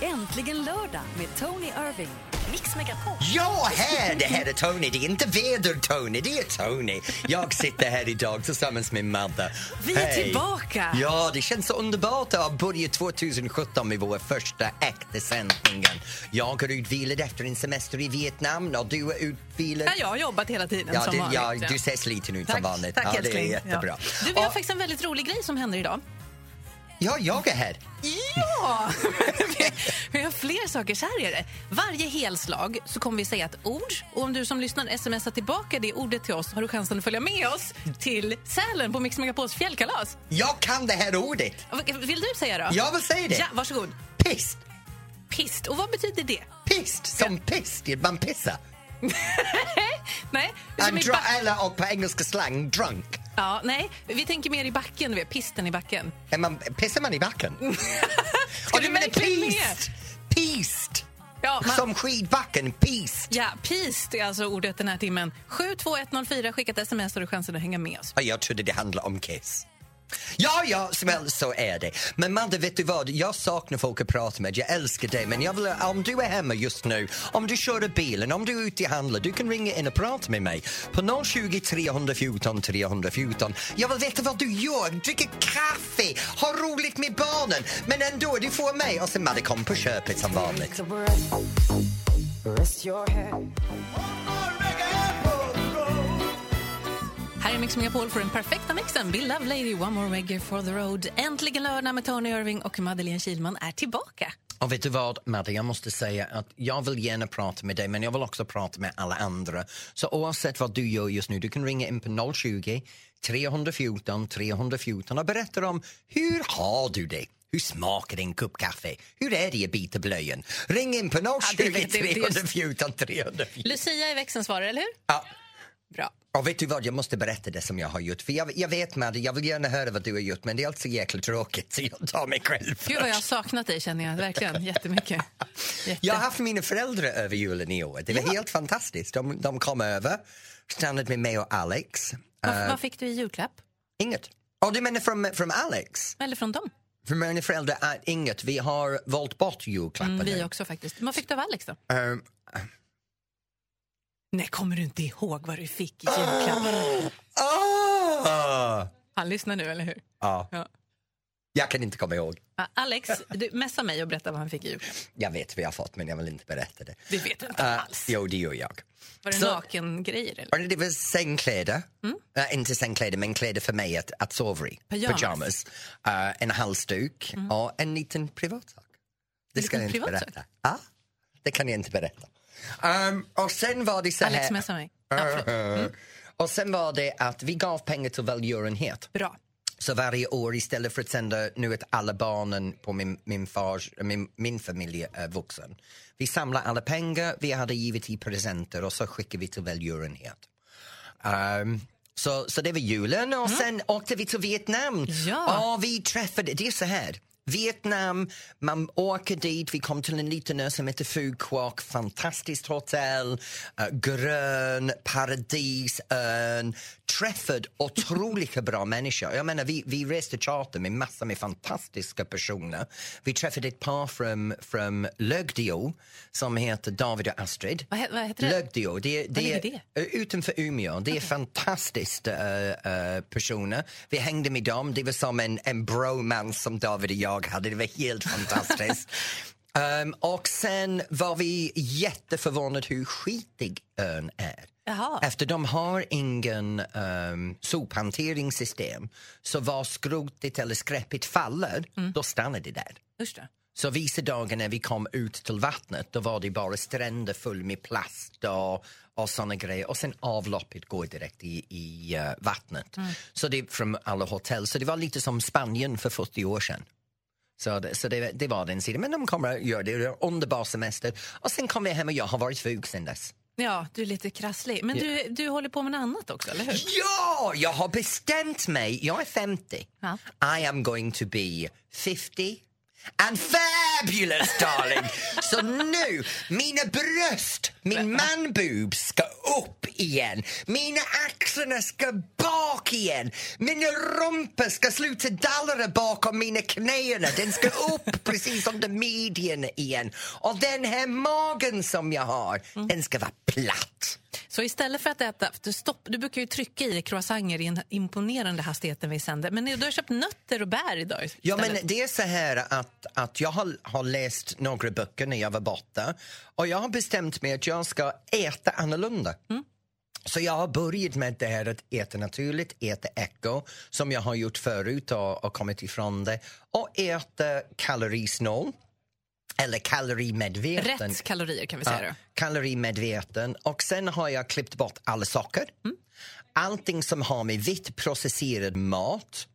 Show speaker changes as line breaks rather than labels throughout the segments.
Äntligen lördag med Tony Irving. Mix Megapol.
Ja, här! Det här är Tony. Det är inte väder-Tony, det är Tony. Jag sitter här idag tillsammans med Madde.
Vi är tillbaka.
Ja, det känns så underbart att ha börjat 2017 med vår första äkta sändningen. Jag är utvilad efter en semester i Vietnam och du är utvilad...
Ja, jag har jobbat hela tiden
Ja,
som
du,
vanligt.
ja, du ser sliten ut som
Tack,
vanligt.
tack
ja, det är
älskling.
jättebra.
Ja. Du, vi har
Och-
faktiskt en väldigt rolig grej som händer idag.
ja, jag är här.
Ja! vi har fler saker. Så här är det. Varje helslag så kommer vi säga ett ord. Och om du som lyssnar smsar tillbaka det ordet till oss har du chansen att följa med oss till Sälen på Mix Megapols fjällkalas.
Jag kan det här ordet.
Vill du säga då?
Jag vill säga det.
Ja, varsågod.
Pist.
Pist. Och vad betyder det?
Pist. Som pist. Man pissar.
Nej, som
And
i
dra-
ba-
eller och på engelska slang, drunk.
ja, nej, vi tänker mer i backen, du vet, pisten i backen.
Är man, pissar man i backen? Ska
du verkligen med?
pist? Pist!
Ja, man-
Som skidbacken, pist!
Ja, pist är alltså ordet den här timmen. 72104, skicka ett sms och du har chansen att hänga med oss.
Ja, Jag trodde det handlade om kiss. Ja, ja, smäll så är det. Men Madde, vet du vad? Jag saknar folk att prata med. Jag älskar dig, men jag vill, om du är hemma just nu, om du kör i bilen, om du är ute och handlar, du kan ringa in och prata med mig på 020 314 314. Jag vill veta vad du gör, dricker kaffe, har roligt med barnen, men ändå, du får mig och sen Madde kom på köpet som vanligt.
Här är Mix Megapol för den perfekta mixen. Be Love Lady, One More Reggae for the Road. Äntligen lördag med Tony Irving och Madeleine Kilman är tillbaka.
Och vet du vad, Madde, jag måste säga att jag vill gärna prata med dig men jag vill också prata med alla andra. Så oavsett vad du gör just nu, du kan ringa in på 020 314 314 och berätta om hur har du det? Hur smakar din kopp kaffe? Hur är det i bita blöjan? Ring in på
det
020
vet jag, det är just-
314 314.
Lucia är växelns svarare, eller hur?
Ja.
Bra.
Och vet du vad, jag måste berätta det som jag har gjort. För jag, jag vet Madde, jag vill gärna höra vad du har gjort men det är alltid så jäkla tråkigt så jag tar mig själv
Gud vad jag har saknat dig känner jag verkligen jättemycket. Jätte.
Jag har haft mina föräldrar över julen i år. Det var helt fantastiskt. De, de kom över, stannade med mig och Alex.
Vad, vad fick du i julklapp?
Inget. Och du menar från, från Alex?
Eller från dem?
Från mina föräldrar? Äh, inget. Vi har valt bort julklapparna.
Mm, vi också faktiskt. Vad fick du av Alex då?
Ehm,
Nej, kommer du inte ihåg vad du fick i julklapp?
ah!
Han lyssnar nu, eller hur?
Ja,
Ja.
jag kan inte komma ihåg.
Ja, Alex, du messa mig och berätta vad han fick i julklapp.
Jag vet vad jag har fått men jag vill inte berätta det.
Det vet jag inte
Uh,
alls.
jo, det gör jag.
Var det
så-
nakengrejer? Eller?
Och Det var sängkläder.
Mm.
Eh, inte sängkläder, men kläder för mig att, att sova i.
Pyjamas. Mm.
Eh, en halsduk och en liten privatsak. Det ska
liten
jag inte
privatsak?
berätta. Ja, det kan jag inte berätta. Ehm, och sen var det så här...
Alex, messa mig. Ja, förlåt. Mm.
Eh, Och sen var det att vi gav pengar till välgörenhet.
Bra.
Så varje år istället för att sända nu att alla barnen på min, min, fars, min, min familj är vuxen. Vi samlar alla pengar, vi hade givit i presenter och så skickar vi till välgörenhet. Ehm, så, så det var julen och sen åkte vi till Vietnam.
Mm. Ja.
Och vi träffade, det är så här. Vietnam, man åker dit, vi kom till en liten ö som heter Phu Quoc, fantastiskt hotell, eh, grön, paradisön, träffade otroligt bra människor. Jag menar, vi, vi reste charter med massor med fantastiska personer. Vi träffade ett par från, från Lögdeå som heter David och Astrid.
Vad, he- vad heter det?
Lögdeå, det, det,
ligger
eh, utanför Umeå. Det är fantastiskt eh, eh, personer. Vi hängde med dem, det var som en, en bromance som David och jag hade. Det var helt fantastiskt. Ehm, och sen var vi jätteförvånade hur skitig ön är.
Jaha.
Efter de har ingen um, sophanteringssystem så var skrotet eller skräpet faller, då stannar det där.
Usch då.
Så vissa dagar när vi kom ut till vattnet då var det bara stränder full med plast och, och såna grejer. Och sen avloppet går direkt i, i eh, vattnet. Så det är från alla hotell. Så det var lite som Spanien för 40 år sedan. Så, det, så det, det var den sidan. Men de kommer att göra det. Det är en underbar semester. Och sen kom vi hem och jag har varit sjuk sen dess.
Ja, du är lite krasslig. Men du, du håller på med något annat också, eller hur?
Ja, jag har bestämt mig. Jag är 50.
Ja.
I am going to be 50 and fabulous darling. Så nu, mina bröst, min manboob ska upp igen. Mina axlarna ska bak igen. Min rumpa ska sluta dallra bakom mina knän. Den ska upp precis under midjan igen. Och den här magen som jag har, den ska vara platt.
Så istället för att äta... för Du, stopp, du brukar ju trycka i croissanger i en imponerande hastighet när vi sänder. Men du har köpt nötter och bär idag istället.
Ja, men det är så här att, att jag har, har läst några böcker när jag var borta och jag har bestämt mig att jag ska äta annorlunda. Så jag har börjat med det här att äta naturligt, äta eko som jag har gjort förut och, och kommit ifrån det och äta kalorisnål eller kalorimedveten.
Rätt kalorier kan vi säga. då.
Kalorimedveten. Och sen har jag klippt bort all socker. Allting som har med vitt processerad mat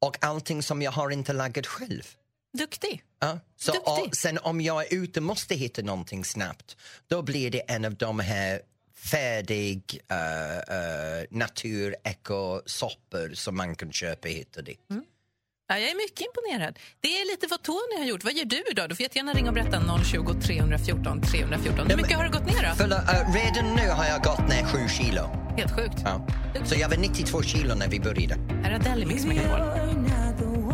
och allting som jag har inte lagat själv.
Duktig.
Ja. Så,
Duktig.
och sen om jag är ute och måste hitta någonting snabbt då blir det en av de här färdig uh, naturekosoppor som man kan köpa hit och dit.
Ja, jag är mycket imponerad. Det är lite vad Tony har gjort. Vad gör du idag? Du får jättegärna ringa och berätta 020 314 314. Hur
men-
mycket har du gått ner då?
För, eh, redan nu har jag gått ner sju kilo.
Helt sjukt.
Ja. Så jag var 92 kilo när vi började.
Här är Adele i Mix Megapol.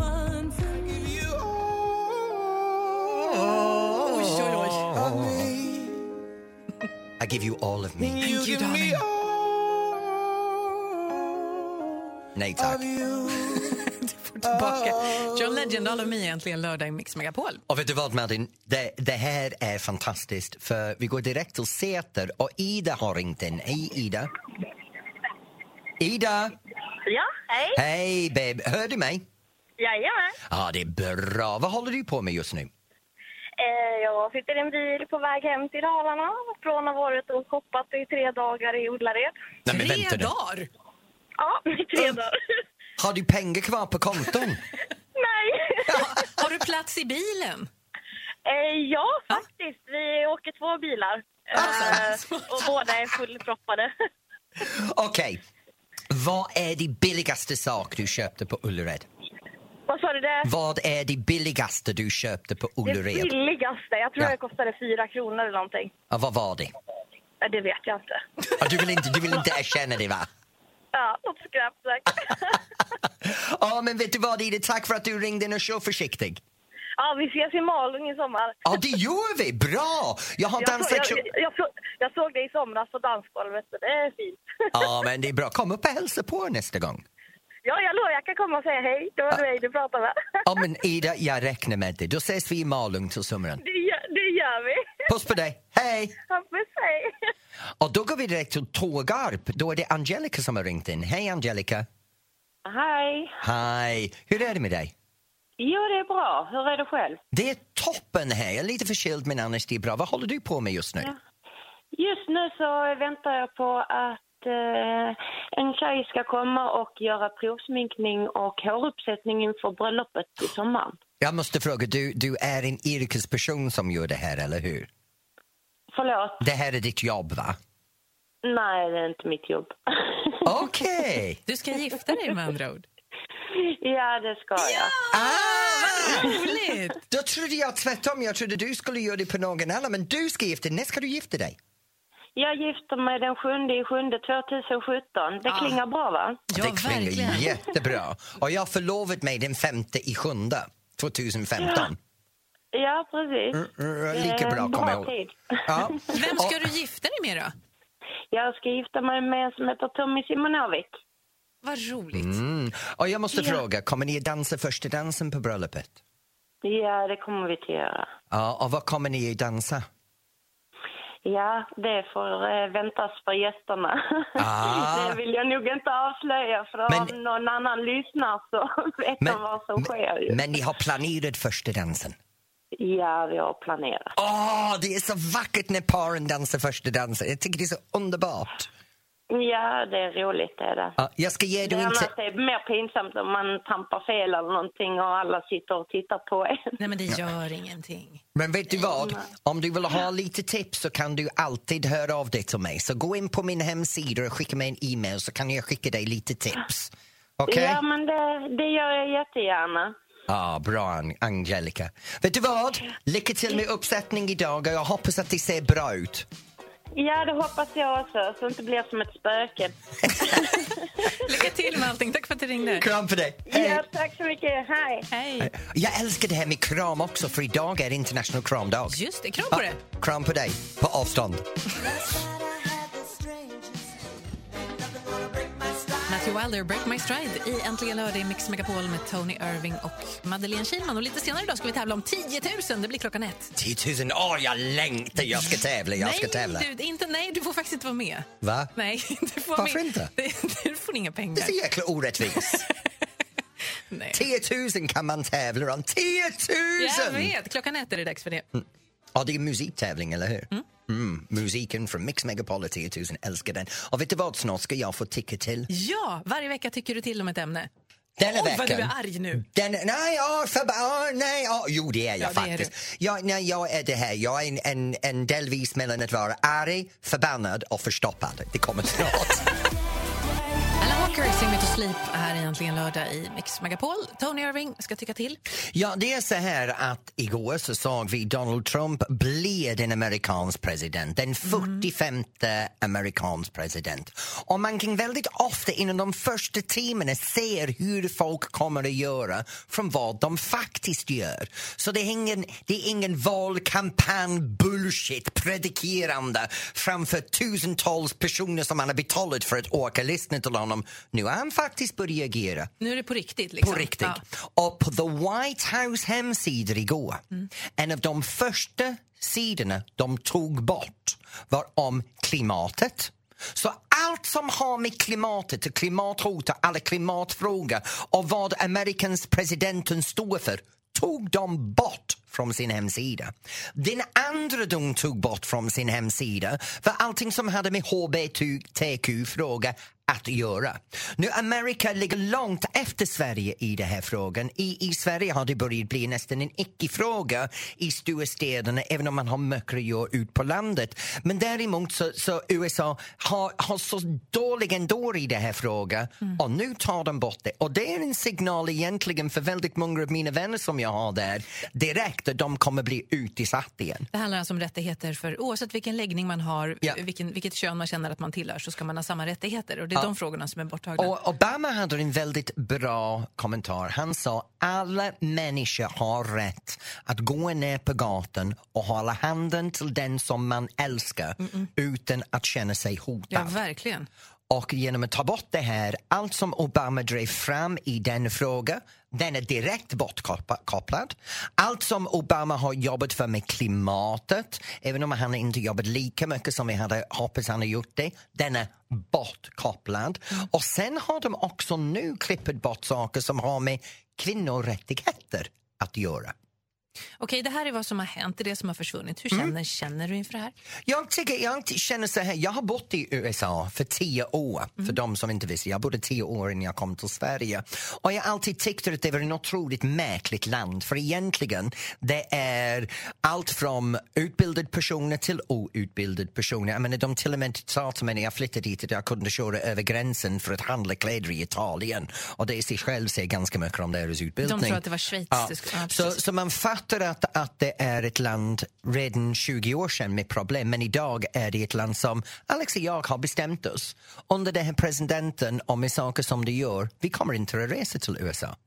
Oj, oj, oj.
I give you all of me.
Thank you, darling.
Nej tack.
Får tillbaka. John Legend, All of Me, äntligen lördag i Mix Megapol.
Och vet du vad Martin, det, det här är fantastiskt för vi går direkt till Säter och Ida har ringt in. Hej Ida! Ida!
Ja, hej.
Hej babe, hör du mig?
Jajamän.
Ja, det är bra. Vad håller du på med just nu?
Eh, jag sitter i en bil på väg hem till Dalarna från att ha varit och shoppat i tre dagar i Ullared.
Nej, men
Tre
vänta nu.
dagar!
Ja, i tre dagar.
Har du pengar kvar på konton?
Nej.
Har du plats i bilen?
eh, ja, faktiskt. Vi åker två bilar. Eh, och båda är fullproppade.
Okej. Vad är det billigaste sak du köpte på Ullared?
Vad sa du? Det,
Vad är det billigaste du köpte på
det
Ullared?
billigaste. Jag tror
Ja.
det kostade fyra kronor eller någonting.
Ja, vad var det?
Eh, det vet jag inte.
Ja, du, vill inte, du vill inte erkänna det, va?
Ja, något skräp säkert.
Ja, men vet du vad, Ida? Tack för att du ringde in och kör försiktig.
ja, vi ses i Malung i sommar.
Ja, det gör vi! Bra! Jag har
Jag,
dansat...
jag, jag, jag, så- jag såg dig i somras på dansgolvet. så Det är fint.
Ja, men det är bra. Kom upp och hälsa på nästa gång.
Ja, jag lovar, jag kan komma och säga hej. Det var dig du pratade med.
Ja, men Ida, jag räknar med dig. Då ses vi i Malung till sommaren.
Det gör, det gör vi.
Puss på dig! Hej!
Ja, Puss, hej.
Och då går vi direkt till Tågarp. Då är det Angelica som har ringt in. Hej, Angelica!
Hej.
Hej! Hur är det med dig?
Jo, det är bra. Hur är det själv?
Det är toppen här. Jag är lite förkyld, men annars det är bra. Vad håller du på med just nu?
Just nu så väntar jag på att eh, en tjej ska komma och göra provsminkning och håruppsättning inför bröllopet i sommar.
Jag måste fråga, du, du är en yrkesperson som gör det här, eller hur?
Förlåt.
Det här är ditt jobb, va?
Nej, det är inte mitt jobb.
Okej!
Du ska gifta dig med andra ord.
ja, det ska jag.
Ah!
Roligt!
Då trodde jag tvärtom. Jag trodde du skulle göra det på någon annan, men du ska gifta dig. När ska du gifta dig?
Jag gifter mig den 7 i 7 2017.
Ah.
Det klingar bra, va?
Ja,
det klingar
verkligen.
jättebra. Och jag har förlovat mig den femte i sjunde 2015.
Ja, precis.
Mm,
Det
mm,
är
Lika bra
en
kommer jag ihåg.
tid.
Ja.
Eh, Vem ska
Och-
du gifta dig med då?
Jag ska gifta mig med en som heter Tommy Simonovic.
Vad roligt.
Mm. Och jag måste fråga, kommer ni att dansa första dansen på bröllopet?
Ja, det kommer vi att göra.
Ja, och vad kommer ni att dansa?
Ja, det får eh, väntas för gästerna.
Ah.
Det vill jag nog inte avslöja för
Men-
om någon annan lyssnar så vet de vad som sker ju.
men, men ni har planerat första dansen?
Ja, vi har planerat.
Åh, det är så vackert när paren dansar första dansen. Jag tycker det är så underbart.
Ja, det är roligt det är det.
Ja, jag ska ge
Det
dig
är,
en...
annars
te-
det är mer pinsamt om man trampar fel eller någonting och alla sitter och tittar på en.
Nej, men det gör ingenting.
Men vet du vad? Om du vill ha lite tips så kan du alltid höra av dig till mig. Så gå in på min hemsida och skicka mig en e-mail så kan jag skicka dig lite tips. Okej?
Ja, men det, det gör jag jättegärna.
Ja, bra An- Angelica. Vet du vad? Lycka till med uppsättning idag och jag hoppas att det ser bra ut.
Ja, det hoppas jag också, så det inte blir som ett spöke.
Lycka till med allting. Tack för att du ringde.
Kram för dig. Hej.
Ja, tack så mycket. Hej!
Hej.
Jag älskar det här med kram också för idag är det internationell kramdag.
Just det, kram på dig.
Ah, Kram på dig, på avstånd.
Matthew Wilder, Break My Stride i Äntligen lördag i Mix Megapol med Tony Irving och Madeleine Kilman. Och lite senare idag ska vi tävla om 10 000. Det blir klockan ett.
10 000, åh jag längtar, jag ska tävla, jag ska tävla.
nej, du, inte, nej, du får faktiskt inte vara med.
Va?
Nej, du får
Varför
med.
inte?
Du får inga pengar.
Det är så jäkla orättvist.
Nej.
10 000 kan man tävla om, 10
Jag
000!
vet, klockan ett är det dags för det.
Mm. Ja, det är musiktävling, eller hur? Mm. musiken från Mix Megapol är 10 000, älskar den. Och vet du vad, snart ska jag få ticket till
Ja, varje vecka tycker du till om ett ämne.
denna
Oj, vad du
veckan.
är arg nu.
Den, nej, ja, för, ja, nej, ja, jo det är jag
Ja, det är
faktiskt. ja, nej, jag är det här, jag är en, en, en delvis mellan att vara arg, förbannad och förstoppad. Det kommer snart.
Alan Walker, Sing Me To Sleep, här är äntligen lördag i Mix Megapol. Tony Irving ska tycka till.
ja, det är så här att igår så såg vi Donald Trump blir den amerikansk president, den 45 amerikansk president. Och man kan väldigt ofta inom de första timmarna se hur folk kommer att göra från vad de faktiskt gör. Så det är ingen, det är ingen valkampanj, bullshit, predikerande framför tusentals personer som man har betalat för att åka och lyssna till honom. Nu har han faktiskt börjat agera.
Nu är det på riktigt. Liksom.
På riktigt.
Ja. Mm.
Och på The White House hemsidor igår, en av de första sidorna de tog bort var om klimatet. Så allt som har med klimatet och klimathot och alla klimatfrågor och vad Amerikans presidenten står för tog de bort från sin hemsida. Den andra de tog bort från sin hemsida var allting som hade med hbtq-fråga att göra. Nu Amerika ligger långt efter Sverige i den här frågan. I, I Sverige har det börjat bli nästan en icke-fråga i stora städerna även om man har mycket att göra ut på landet. Men däremot så, så USA har, har så dålig ändå i den här frågan och nu tar de bort det. Och det är en signal egentligen för väldigt många av mina vänner som jag har där direkt att de kommer bli utsatta igen.
Det handlar alltså om rättigheter för oavsett vilken läggning man har,
Ja.
vilken, vilket kön man känner att man tillhör, så ska man ha samma rättigheter. Och det är de frågorna som är borttagna.
Och Obama hade en väldigt bra kommentar. Han sa alla människor har rätt att gå ner på gatan och hålla handen till den som man älskar utan att känna sig hotad.
ja, verkligen.
Och genom att ta bort det här, allt som Obama drev fram i den frågan, den är direkt bortkopplad. Allt som Obama har jobbat för med klimatet, även om han inte jobbat lika mycket som vi hade hoppats han hade gjort det, den är bortkopplad. Och sen har de också nu klippt bort saker som har med kvinnorättigheter att göra.
Okej, det här är vad som har hänt, det är det som har försvunnit. Hur
Mm.
känner, känner du inför det här?
Jag, tycker, jag känner så här, jag har bott i USA för tio år,
Mm.
för de som inte visste. Jag bodde tio år innan jag kom till Sverige. Och jag har alltid tyckt att det var ett otroligt märkligt land, för egentligen det är allt från utbildade personer till outbildade personer. Jag menar, de till och med sa till mig när jag flyttade dit att jag kunde köra över gränsen för att handla kläder i Italien. Och det i sig själv säger ganska mycket om deras utbildning.
De tror att det var schweiziskt. Ja,
Så,
precis.
så man fattar att, att det är ett land redan 20 år sedan med problem men idag är det ett land som Alex och jag har bestämt oss under den här presidenten och med saker som det gör, vi kommer inte att resa till USA.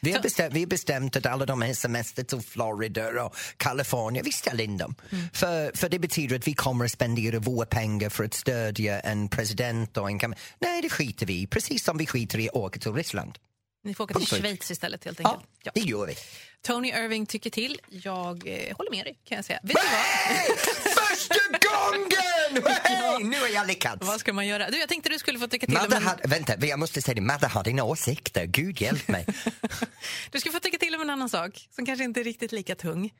Vi har, bestämt, vi har bestämt att alla de här semester till Florida och Kalifornien, vi ställer in dem.
Mm.
För, för det betyder att vi kommer att spendera våra pengar för att stödja en president och en kam- Nej, det skiter vi i, precis som vi skiter i att åka till Ryssland.
Ni får åka till
punkt.
Schweiz istället helt
Ja,
enkelt. Ja.
det gör vi.
Tony Irving tycker till. Jag eh, håller med dig kan jag säga. Vet du vad?
Första gången! Hej, nu har jag lyckats.
Vad ska man göra? Du, jag tänkte du skulle få tycka till.
Madde
Om en,
hade, vänta, jag måste säga det. Madde har dina åsikter. Gud hjälp mig.
du ska få tycka till om en annan sak som kanske inte är riktigt lika tung.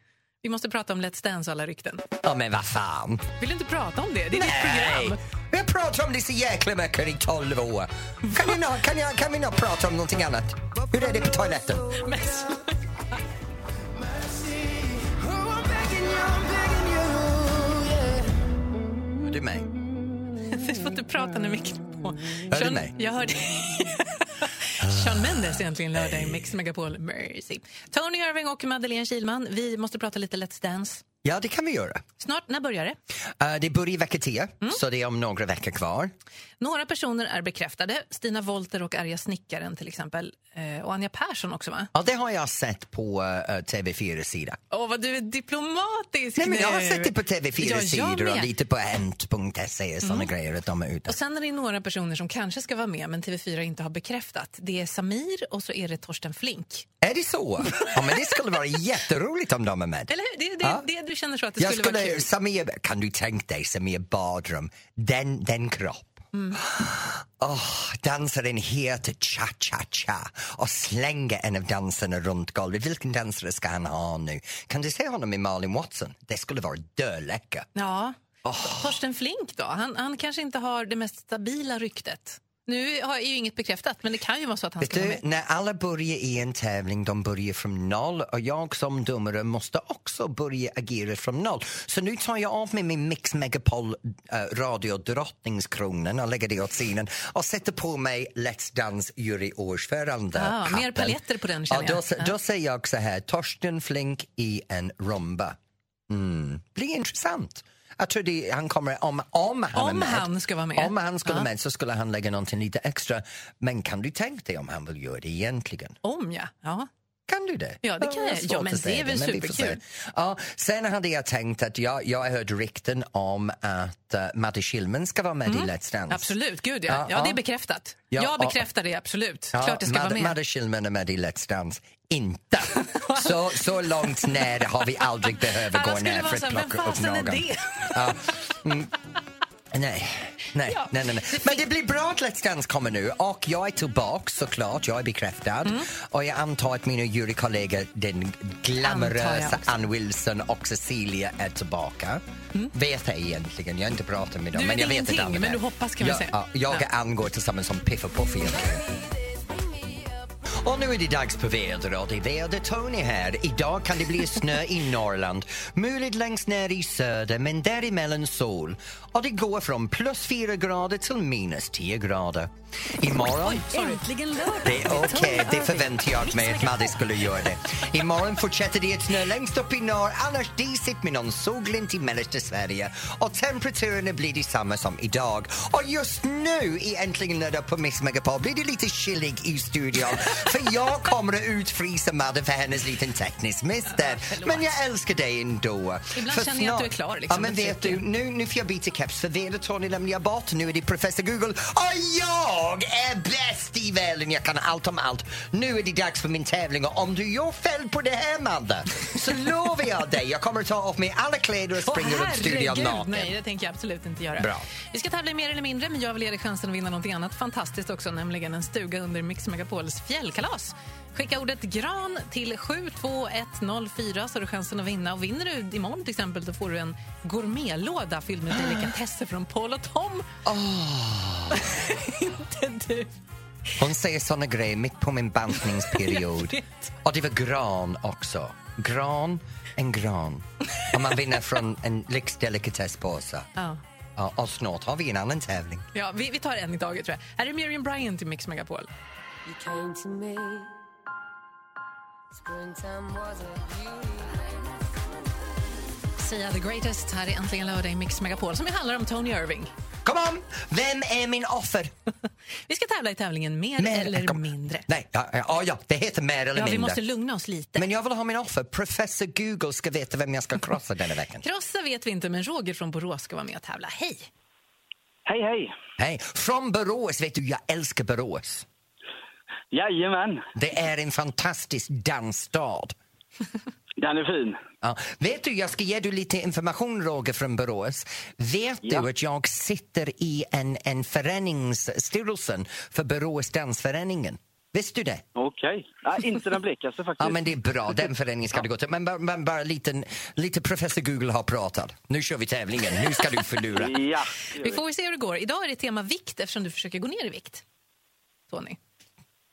Vi måste prata om Let's Dance och alla rykten.
Ja, men vad fan.
Vill du inte prata om det? Det är ditt program.
Vi har pratat om det så jäkla mycket i tolv år. Kan vi, nå- kan, jag, kan vi nog prata om någonting annat? Hur är det på toaletten?
Men så-
Du mig.
Du får inte prata när micken på.
du mig?
Jag hörde... Sean Mendes egentligen lördag i Mix Megapol Mercy. Tony Irving och Madeleine Kilman. Vi måste prata lite Let's Dance.
Ja, det kan vi göra.
Snart, när börjar det?
Eh, det börjar i vecka 10,
Mm.
så det är om några veckor kvar.
Några personer är bekräftade. Stina Wolter och Arja Snickaren till exempel. Eh, och Anja Persson också va?
Ja, det har jag sett på eh, TV4 sida.
Åh vad du är diplomatisk
Nej, men jag har
nu.
sett det på TV4
Ja, jag
sidor och
med. Mm.
lite på hent.se och E, såna grejer att de är ute.
Och sen är det några personer som kanske ska vara med men TV4 inte har bekräftat. Det är Samir och så är det Torsten Flink.
Är det så? Ja, men det skulle vara jätteroligt om de är med.
Eller hur? Det, det,
Ja.
det du känner så att det
Jag
skulle, vara
skulle,
kul.
Samir, kan du tänka dig Samir Badrum, den, den kropp.
Mm.
Åh, dansar en het cha-cha-cha och slänger en av dansarna runt golvet. Vilken dansare ska han ha nu? Kan du se honom i Malin Watson? Det skulle vara döläcker.
Ja.
Ah.
Torsten Flink då? Han, han kanske inte har det mest stabila ryktet. Nu har- är ju inget bekräftat men det kan ju vara så att han
Vet
ska vara
du,
med.
när alla börjar i en tävling, de börjar från noll och jag som domare måste också börja agera från noll. Så nu tar jag av mig min Mix Megapol eh, radio drottningskronan och lägger det åt sidan och sätter på mig Let's Dance juryordförande
Ah, mer
hatten.
paletter på den,
ja,
känner
då,
jag.
sä- då säger jag så här, Torsten Flink i en rumba. Mm. Blir intressant. Jag tror det, han kommer, om, om han är
Om
med,
han ska vara med.
Om han skulle
Ja.
vara med så skulle han lägga någonting lite extra. Men kan du tänka dig om han vill göra det egentligen?
Om ja. ja.
Kan du det?
Ja, det kan jag.
är svårt
Ja, men
att säga
det är väl
men vi får
superkul.
se. Ja, sen hade jag tänkt att jag, jag har hört rykten om att uh, Madde Kihlman ska vara med i Let's Dance.
Mm, Absolut, gud
Ja,
ja. Ja,
ja.
det är bekräftat.
Ja,
jag
ja.
bekräftar det absolut.
Ja,
Klart det ska
Madde,
vara med.
Madde Kihlman är med i Let's Dance. Inte! Så, så långt ner har vi aldrig behövt
Alla
gå
skulle
ner
vara
för
så
att
här, "Vem
plocka upp
fasen är
någon.
det?"
Ja. Mm. Nej. Nej,
Ja.
nej, nej, nej. Men det blir bra att Let's Dance kommer nu och jag är tillbaka såklart, jag är bekräftad.
Mm.
Och jag antar att mina jurykollegor, den
Antar jag
glamorösa
också. Mm.
Ann Wilson och Cecilia är tillbaka. Vet jag egentligen, jag har inte pratat med dem.
Du
men
vet
jag vet att
ingenting,
Ann
men
är med.
du hoppas kan vi
jag,
säga.
Ja, jag och Ann går tillsammans som Piff och Puff egentligen. Och nu är det dags för väder och det är väder-Tony här. Idag kan det bli snö i Norrland, muligt längst ner i söder men däremellan sol. Och det går från plus 4 grader till minus 10 grader. Imorgon...
Äntligen lördag.
Det är
med Tony
okej, det
Irving.
förväntar jag mig att Madde skulle göra det. Imorgon fortsätter det att snö längst upp i norr, annars disigt med någon solglimt i mellersta Sverige. Och temperaturerna blir detsamma som idag. Och just nu i Äntligen lördag på Mix Megapol blir det lite chillig i studion. För jag kommer att utfrysa Madde för hennes liten teknisk miss där. Men jag älskar dig ändå.
Ibland
För
känner jag att du är
snart-
klar, liksom.
Ja, men vet du, nu, nu får jag byta keps för vedertornet lämnar jag bort. Nu är det professor Google och jag är bäst i världen. Jag kan allt om allt. Nu är det dags för min tävling och om du gör fel på det här, Madde, så lovar jag dig, jag kommer att ta av mig alla kläder och
Åh,
springa runt studion
herregud,
naken.
Nej, det tänker jag absolut inte göra.
Bra.
Vi ska tävla i mer eller mindre, men jag vill ge dig chansen att vinna något annat fantastiskt också, nämligen en stuga under Mix Megapols fjällkalas. Skicka ordet gran till 72104 så har du chansen att vinna. Och vinner du imorgon till exempel, då får du en gourmetlåda fylld med delikatesser från Paul och Tom. inte du.
Hon säger såna grejer mitt på min bantningsperiod.
Jag vet.
och det var gran också. Gran, en gran. Om man vinner från en lyxdelikatesspåse.
Ja.
Ja, och snart har vi en annan tävling.
Ja, vi, vi tar en i taget tror jag. Här är Miriam Bryant i Mix Megapol.
You came to me. Springtime was a beauty.
Sia the greatest här är äntligen lördag i Mix Megapol som ju handlar om Tony Irving.
Kom on! Vem är min offer?
Vi ska tävla i tävlingen mer,
Mer-
eller
kom-
mindre.
Nej, ja, ja, ja, det heter mer eller
Ja,
mindre.
vi måste lugna oss lite.
Men jag vill ha min offer. Professor Google ska veta vem jag ska krossa denna veckan.
Krossa vet vi inte, men Roger från Borås ska vara med och tävla. Hej!
Hej, hej!
Hej, från Borås, vet du, jag älskar Borås.
Jajamän,
Det är en fantastisk dansstad.
den är fin.
Ja. Vet du, jag ska ge dig lite information, Roger från Borås. Vet du
Ja.
att jag sitter i en, en föreningsstyrelsen för Borås dansföreningen? Visste du det?
Okej. Nej, inte den blekaste faktiskt.
Ja, men det är bra. Den föreningen ska du gå till. Men, bara- men bara lite, lite professor Google har pratat. Nu kör vi tävlingen. Nu ska du förlora.
Ja, det gör
Vi får se hur det går. Idag är det tema vikt eftersom du försöker gå ner i vikt. Tony.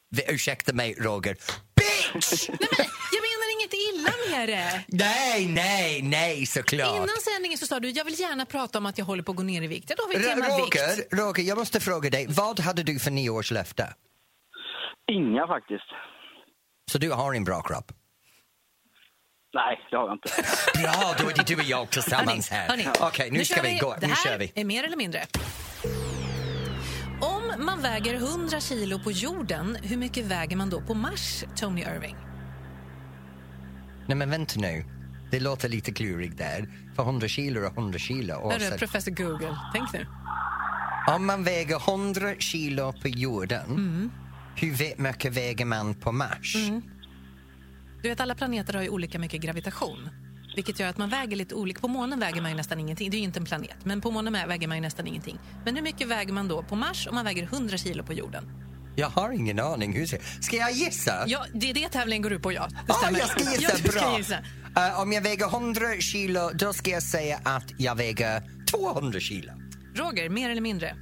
Vi- Ursäkta mig, Roger. Bitch!
Nej, men jag menar inget illa med det.
Nej, nej, nej, såklart.
Innan sändningen så sa du jag vill gärna prata om att jag håller på att gå ner i vikt. Ja, då har vi
R-
tema vikt.
Roger, Roger, jag måste fråga dig. Vad hade du för nyårslöfte?
vi. Inga faktiskt.
Så du har en bra kropp?
Nej, det har jag inte.
Bra, då är det du och jag tillsammans här.
Hörni,
Okej, nu, ska vi gå.
Det
Nu
här
kör vi.
är mer eller mindre. Om man väger 100 kilo på jorden, hur mycket väger man då på Mars, Tony Irving?
Nej, men vänta nu. Det låter lite klurigt där. För 100 kilo är 100 kilo.
Hörru,
Oavsett.
professor Google, tänk nu.
Om man väger 100 kilo på jorden, hur vä- mycket väger man på Mars?
Mm. Du vet, alla planeter har ju olika mycket gravitation. Vilket gör att man väger lite olika. På månen väger man ju nästan ingenting. Det är ju inte en planet, men på månen väger man ju nästan ingenting. Men hur mycket väger man då på Mars om man väger 100 kilo på jorden?
Jag har ingen aning. Hur ser... Ska jag gissa?
Ja, det är det tävlingen går ut på, ja. Det
ah,
stämmer.
jag ska
Ja,
gissa.
du
Bra.
Ska gissa.
Eh, om jag väger 100 kilo, då ska jag säga att jag väger 200 kilo.
Roger, mer eller mindre?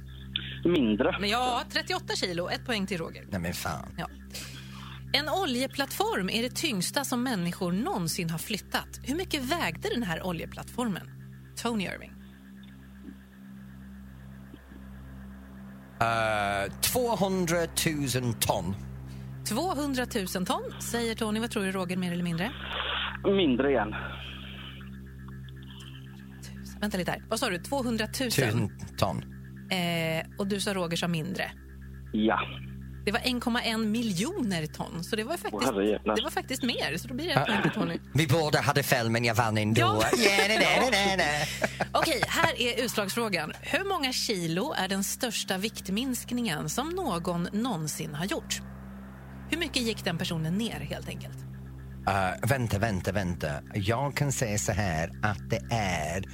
Mindre.
Men ja, 38 kilo. Ett poäng till Roger.
Nej, men fan.
Ja. En oljeplattform är det tyngsta som människor någonsin har flyttat. Hur mycket vägde den här oljeplattformen? Tony Irving.
Eh, 200 000 ton.
200 000 ton, säger Tony. Vad tror du, Roger, mer eller mindre?
Mindre igen.
Vänta lite här. Vad sa du? 200 000?
000 ton.
Eh, och du sa Roger sa mindre.
Ja.
Det var 1,1 miljoner ton, så det var faktiskt,
herrejävlar.
det var faktiskt mer. Så då blir det
Ah.
ett poäng till Tony.
Vi båda hade fel, men jag vann ändå.
Ja.
Yeah, nej, nej, nej, nej.
Okej, här är utslagsfrågan. Hur många kilo är den största viktminskningen som någon någonsin har gjort? Hur mycket gick den personen ner helt enkelt?
Eh, vänta, vänta, vänta. Jag kan säga så här att det är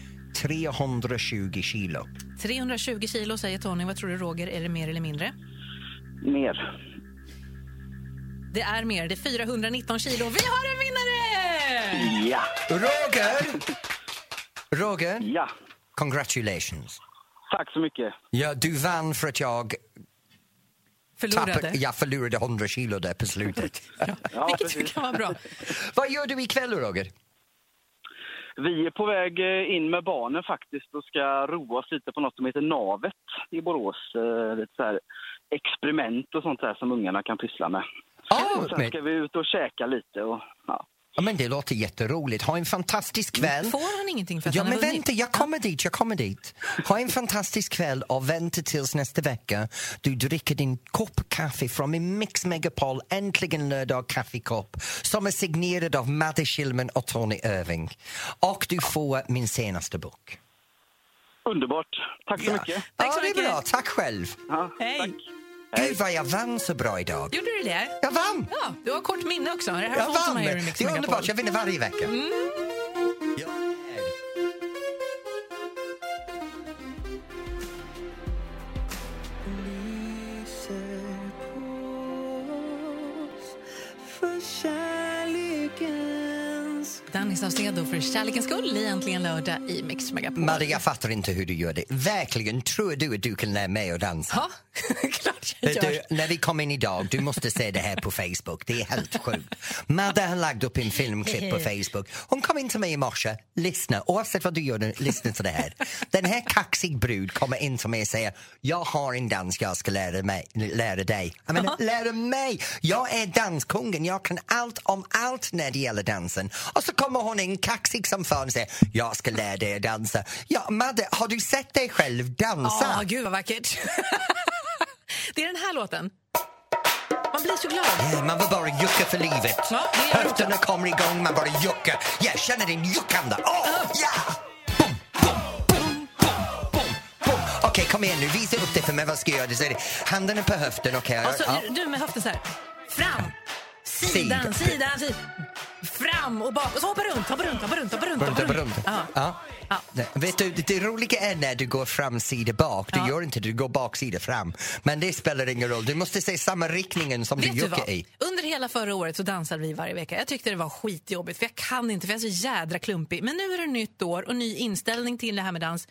320 kilo.
320 kilo säger Tony. Vad tror du Roger? Är det mer eller mindre?
Mer.
Det är mer. Det är 419 kilo. Vi har en vinnare!
Ja.
Roger! Roger,
Ja.
congratulations.
Tack så mycket.
Ja, du vann för att jag,
Förlorade.
tappade, jag förlorade 100 kilo där på slutet.
Ja,
Vilket ju
precis.
kan vara bra.
Vad gör du ikväll, Roger?
Vi är på väg eh, in med barnen faktiskt och ska roa oss lite på något som heter Navet i Borås. Eh, Lite så här experiment och sånt där som ungarna kan pyssla med.
Oh,
Och sen
men,
ska vi ut och käka lite och ja.
ja, men det låter jätteroligt. Ha en fantastisk kväll.
Får han ingenting för att
Ja,
han
men
har vunnit?
vänta, jag kommer dit, jag kommer dit. Ha en fantastisk kväll och vänta tills nästa vecka. Du dricker din kopp kaffe från min Mix Megapol Äntligen lördag kaffekopp som är signerad av Madde Schillman och Tony Irving. Och du får min senaste bok.
Underbart. Tack så
Ja.
mycket.
Ja,
Tack så
det är
mycket.
bra. Tack själv.
Ja,
Hej.
Tack.
Gud vad jag vann så bra idag.
Gjorde du det?
Jag vann!
Ja, du har kort minne också. Det här är
Jag
sånt som
vann!
man
Det
gör i Mix
är
Megapol. Mm.
underbart, jag vinner varje vecka. Ja.
Danny Saucedo för Kärlekens skull i Äntligen lördag i Mix Megapol.
Maria, jag fattar inte hur du gör det. Verkligen, tror du att du kan lära mig att dansa?
Ja, klart jag
Vet
gör.
du, när vi kom in idag, du måste se det här på Facebook. Det är helt sjukt. Madde har lagt upp en filmklipp på Facebook. Hon kom in till mig i morse, lyssna, oavsett vad du gör nu, lyssna till det här. Den här kaxig brud kommer in till mig och säger, jag har en dans jag ska lära, mig, lära dig. Jag menar, lära mig! Jag är danskungen, jag kan allt om allt när det gäller dansen. Och så kommer hon in kaxig som fan och säger, jag ska lära dig att dansa. Ja, Madde, har du sett dig själv dansa?
Ja, gud vad vackert. det är den här låten. Man blir så glad.
Nej, Man vill bara jucka för livet.
Ja, det gör jag också.
Höfterna kommer igång, man bara juckar. Jag känner din juckande. Åh, ja! Bom, bom, bom, bom, bom, bom. Okej, kom igen nu. Visa upp det för mig. Vad ska jag göra? Det säger det. Handen är på höften. Okej.
Och så,
ja.
Du med höften så här. Fram, Alltså, sidan,
Sidan.
sidan, sidan. Fram och bak. Och så hoppa runt, hoppa runt, hoppa runt. Hoppa runt,
Runt,
hoppa
runt.
Ja.
Ja.
Ja.
Nej, Vet du, det roliga är när du går fram sida bak. Du
Ja.
gör inte det, du går baksida fram. Men det spelar ingen roll. Du måste se samma riktningen som
Vet
du
du
juckar
vad?
i.
Under hela förra året så dansade vi varje vecka. Jag tyckte det var skitjobbigt för jag kan inte för jag är så jädra klumpig. Men nu är det nytt år och ny inställning till det här med dans.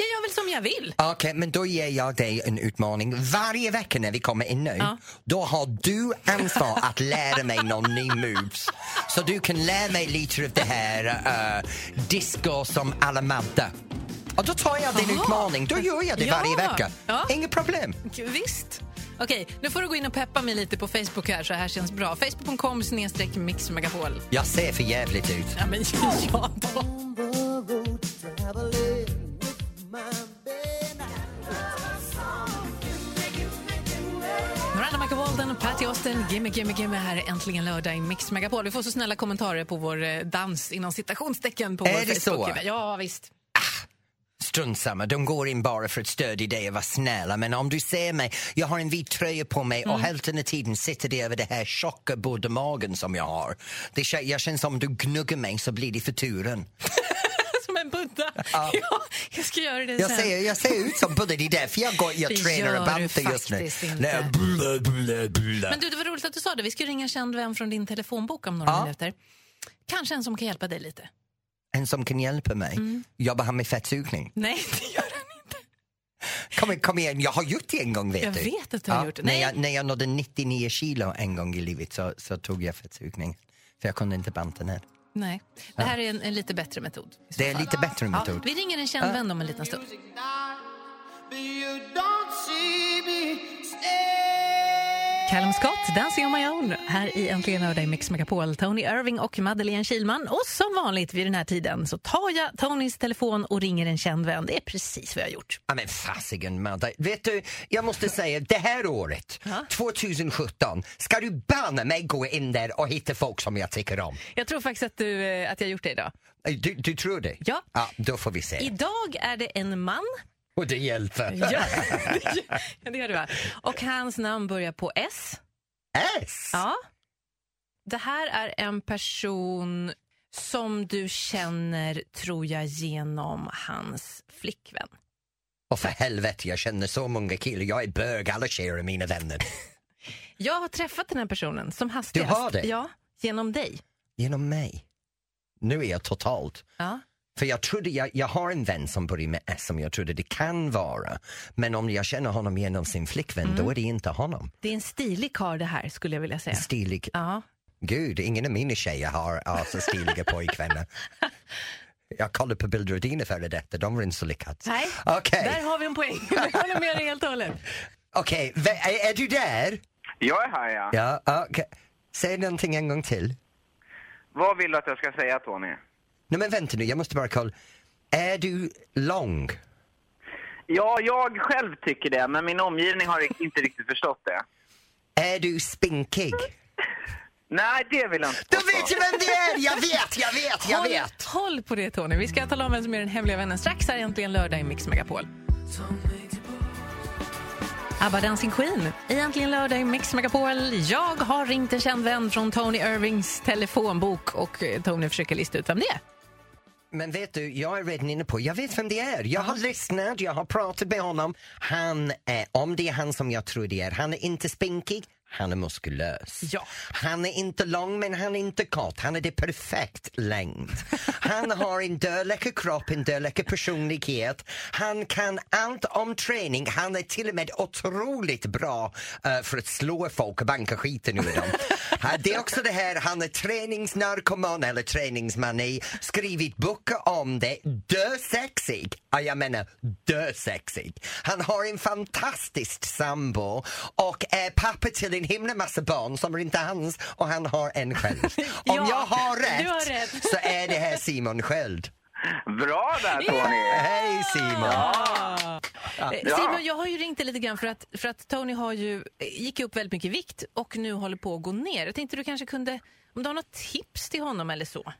Jag gör väl som jag vill.
Okej, men då ger jag dig en utmaning. Varje vecka när vi kommer in nu,
Ja.
då har du ansvar att lära mig någon ny moves. Så du kan lära mig lite av det här uh, disco som alla Madde. Och då tar jag din
Aha.
utmaning, då gör jag det
Ja.
varje vecka.
Ja.
Inget problem.
Visst. Okej, nu får du gå in och peppa mig lite på Facebook här så här känns bra. Facebook.com snedstreck mixmegapol.
Jag ser för jävligt ut.
Ja, men ja då. Miranda Michael Walden och Patty Austin, Gimme Gimme Gimme här är äntligen lördag i Mix Megapol. Vi får så snälla kommentarer på vår eh, dans inom citationstecken på
Är
vår
det så?
Facebook-sida. Ja, visst.
Strunt samma, de går in bara för att stödja dig och vara snälla. Men om du ser mig, jag har en vit tröja på mig
Mm.
och hälften av tiden sitter det över det här tjocka båda magen som jag har. Det, kä- jag känns som om du gnuggar mig så blir det för turen.
Som en buddha. Ja.
Ja.
jag ska göra det
Jag
sen.
ser, jag ser ut som Budde, det är därför jag, går,
Det
jag tränar
gör du
och bantar just nu.
faktiskt inte.
Nej, bla, bla, bla.
Men du, det var roligt att du sa det. Vi ska ringa en känd vän från din telefonbok om några
Ja.
minuter. Kanske en som kan hjälpa dig lite.
En som kan hjälpa mig,
Mm.
jobbar han med fettsugning?
Nej, det gör han inte.
Kom, i- kom igen, jag har gjort det en gång vet
Jag
du.
vet att du har gjort det.
När
Nej.
jag, när jag nådde 99 kilo en gång i livet så, så tog jag fettsugning. För jag kunde inte banta ner.
Nej, det här är en, en lite bättre metod. i så
Det är en
fall.
lite bättre
Ja,
metod.
vi ringer en känd vän om en liten stund. Callum Scott, Dancing on my own. Här i Äntligen lördag i Mix Megapol. Tony Irving och Madeleine Kilman. Och som vanligt vid den här tiden så tar jag Tonys telefon och ringer en känd vän. Det är precis vad jag har gjort.
Ja, men fasiken Madde. Vet du, jag måste säga det här året, 2017, ska du banne mig gå in där och hitta folk som jag tycker om.
Jag tror faktiskt att, du, eh, att jag har gjort det idag.
Eh, Du, du tror det?
Ja.
ja. Då får vi se.
Idag är det en man.
Och det hjälper.
Ja, det gör du va? Och hans namn börjar på S.
S!
Ja. Det här är en person som du känner, tror jag, genom hans flickvän.
Och för helvete, jag känner så många killar. Jag är bög, alla tjejer är mina vänner.
Jag har träffat den här personen som hastigast.
Du har det?
Ja, genom dig.
Genom mig. Nu är jag totalt.
Ja.
För jag trodde, jag, jag har en vän som börjar med S som jag trodde det kan vara. Men om jag känner honom genom sin flickvän, då är det inte honom.
Det är en stilig karl det här, skulle jag vilja säga.
Stilig
Mm. Ja.
Gud, ingen av mina tjejer har har så stiliga pojkvänner. Jag kollar på bilder av dina före detta, de var inte så lyckade.
Nej,
Okej,
där har vi en poäng. Jag håller med dig helt och hållet.
okej, vä- är, är du där?
Jag är här, ja.
Ja, okej. Säg någonting en gång till.
Vad vill du att jag ska säga, Tony?
Nej men vänta nu, jag måste bara kolla. Är du lång?
Ja, jag själv tycker det, men min omgivning har inte riktigt förstått det.
Är du spinkig?
Alltså. Nej, det vill jag inte
Då
påstå.
vet jag vem det är! Jag vet, jag vet, jag
Håll,
vet!
håll på det, Tony. Vi ska tala om vem som är den hemliga vännen strax. Här är äntligen lördag i Mix Megapol. ABBA Dancing Queen. Egentligen lördag i Mix Megapol. Jag har ringt en känd vän från Tony Irvings telefonbok och eh, Tony försöker lista ut vem det är.
Men vet du, jag är redan inne på, jag vet vem det är. Jag har lyssnat, jag har pratat med honom. Han är, om det är han som jag tror det är, han är inte spinkig, han är muskulös.
Ja.
Han är inte lång men han är inte kort, han är det perfekt längd. Han har en dödläcker kropp, en dödläcker personlighet. Han kan allt om träning, han är till och med otroligt bra eh, för att slå folk och banka skiten ur dem. Eh, det är också det här, han är träningsnarkoman eller träningsmani, skrivit böcker om det, dösexig. Ja, jag menar dösexig. Han har en fantastisk sambo och är pappa till en himla massa barn som är inte hans och han har en själv. Om
Ja,
jag har
du
rätt,
har rätt.
så är det här Simon Sköld.
Bra där, Tony!
Hej Simon!
Eh,
Ja.
Simon, jag har ju ringt dig lite grann för att, för att Tony har ju, eh, gick ju upp väldigt mycket i vikt och nu håller på att gå ner. Jag tänkte du kanske kunde, om du har något tips till honom eller så?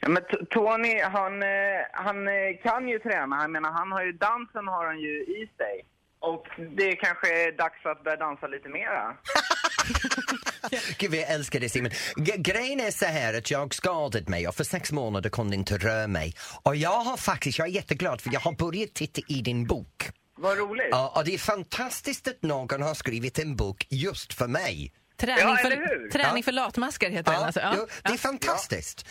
Ja, men T- Tony, han, eh, han eh, kan ju träna. Jag menar, han har ju, dansen har han ju i sig. Och det kanske är dags att börja dansa lite mera.
Gud, jag älskar dig Simon. G- grejen är så här att jag skadade mig och för sex månader kunde inte röra mig. Och jag har faktiskt, jag är jätteglad för jag har börjat titta i din bok.
Vad roligt!
Ja, och det är fantastiskt att någon har skrivit en bok just för mig.
Träning,
Ja, eller
för,
hur?
träning
Ja.
för latmaskar heter den
Ja,
alltså. Ja.
jo, det är fantastiskt.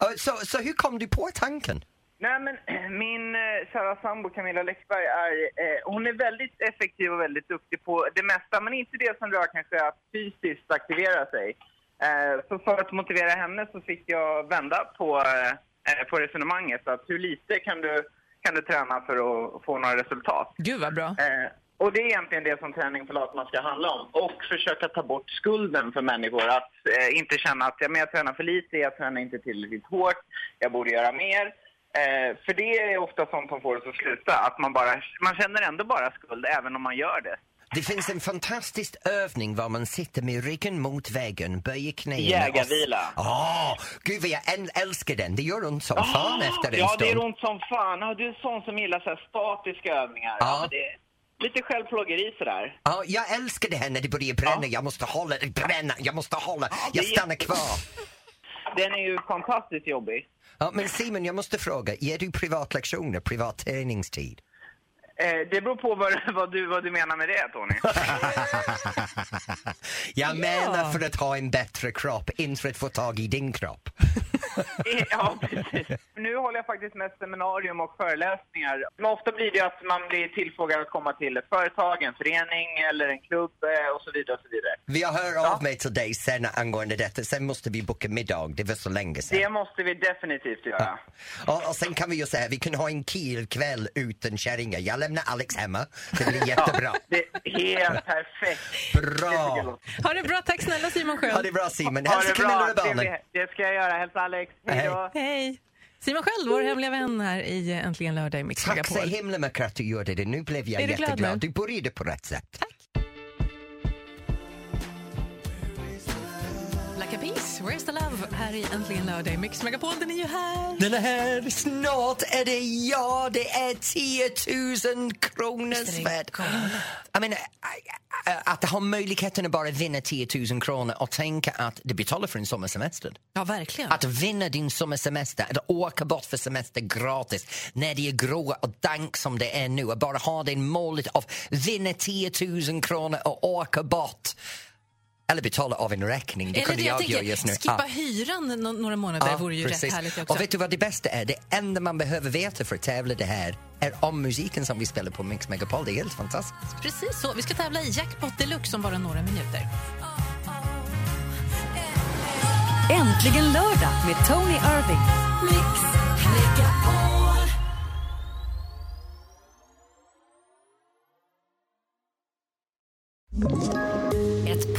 Ja, Så, så hur kom du på tanken?
Nej, men min eh, kära sambo Camilla Läckberg är, eh, hon är väldigt effektiv och väldigt duktig på det mesta, men inte det som rör kanske att fysiskt aktivera sig. Eh, så för att motivera henne så fick jag vända på, eh, på resonemanget. Att hur lite kan du, kan du träna för att få några resultat?
Gud vad bra.
Eh, Och det är egentligen det som träning för latman ska handla om. Och försöka ta bort skulden för människor. Att eh, inte känna att ja, men jag tränar för lite, jag tränar inte tillräckligt hårt, jag borde göra mer. Eh, för det är ofta sånt som får oss att sluta. Att man, bara, man känner ändå bara skuld även om man gör det.
Det finns en fantastisk övning var man sitter med ryggen mot väggen, böjer knäna.
Jägarvila.
och- Ja, gud vad jag än- älskar den. Det gör ont som fan
Ah,
efter en
ja,
stund.
det är ont som fan. Ah, Du är sån som gillar så här statiska övningar.
Ja.
Ja, men det är lite självplågeri sådär.
Ja, jag älskar det här när det börjar bränna. Jag måste hålla, bränna, jag måste hålla. Jag
det är-
stannar kvar.
Den är ju fantastiskt jobbig.
Ja, men Simon, jag måste fråga, ger du privatlektioner, privat träningstid?
Eh, det beror på vad, vad, du, vad du menar med det, Tony.
jag menar för att ha en bättre kropp, inte för att få tag i din kropp.
ja, precis. Nu håller jag faktiskt med seminarium och föreläsningar. Men ofta blir det ju att man blir tillfrågad att komma till ett företag, en förening eller en klubb eh, och så vidare. Och så vidare.
Jag hör av mig till dig sen angående detta, sen måste vi boka middag, det var så länge sedan.
Det måste vi definitivt göra.
Och, och sen kan vi ju säga, vi kan ha en kilkväll utan kärringar. Jag lämnar Alex hemma, det blir jättebra.
Det är helt perfekt.
Bra!
Ha det bra. Tack snälla Simon Sköld.
Ha det bra Simon,
Ha
hälsa
det
Camilla
bra.
och barnen.
Trevlig- Det ska jag göra. Hälsa Alex. Hej då.
Hej.
Hej. Simon Sköld, vår hemliga vän här i Äntligen lördag i Mix
Tack så
Megapol.
himla mycket att du gjorde det. Nu blev jag
Är du glad
jätteglad.
nu?
Du började på rätt sätt.
La Capiz, Where's the Love? Här i Äntligen lördag i Mix Megapol. Den är ju här.
Den här, snart är det jag, det är 10 000 kronors
det
värd. Jag menar, äh, äh, att ha möjligheten att bara vinna 10 000 kronor och tänka att det betalar för en sommarsemester.
Ja, verkligen.
Att vinna din sommarsemester, att åka bort för semester gratis när det är grå och dank som det är nu och bara ha det målet av vinna 10 000 kronor och åka bort. Eller betala av en räkning, det
Eller
kunde
det
jag,
jag
göra
tänker,
just nu.
skippa
Ah.
hyran no- några månader
Ja,
vore ju
precis.
rätt härligt också.
Och vet du vad det bästa är? Det enda man behöver veta för att tävla det här är om musiken som vi spelar på Mix Megapol. Det är helt fantastiskt.
Precis så. Vi ska tävla i Jackpot Deluxe om bara några minuter.
Äntligen lördag med Tony Irving. Ett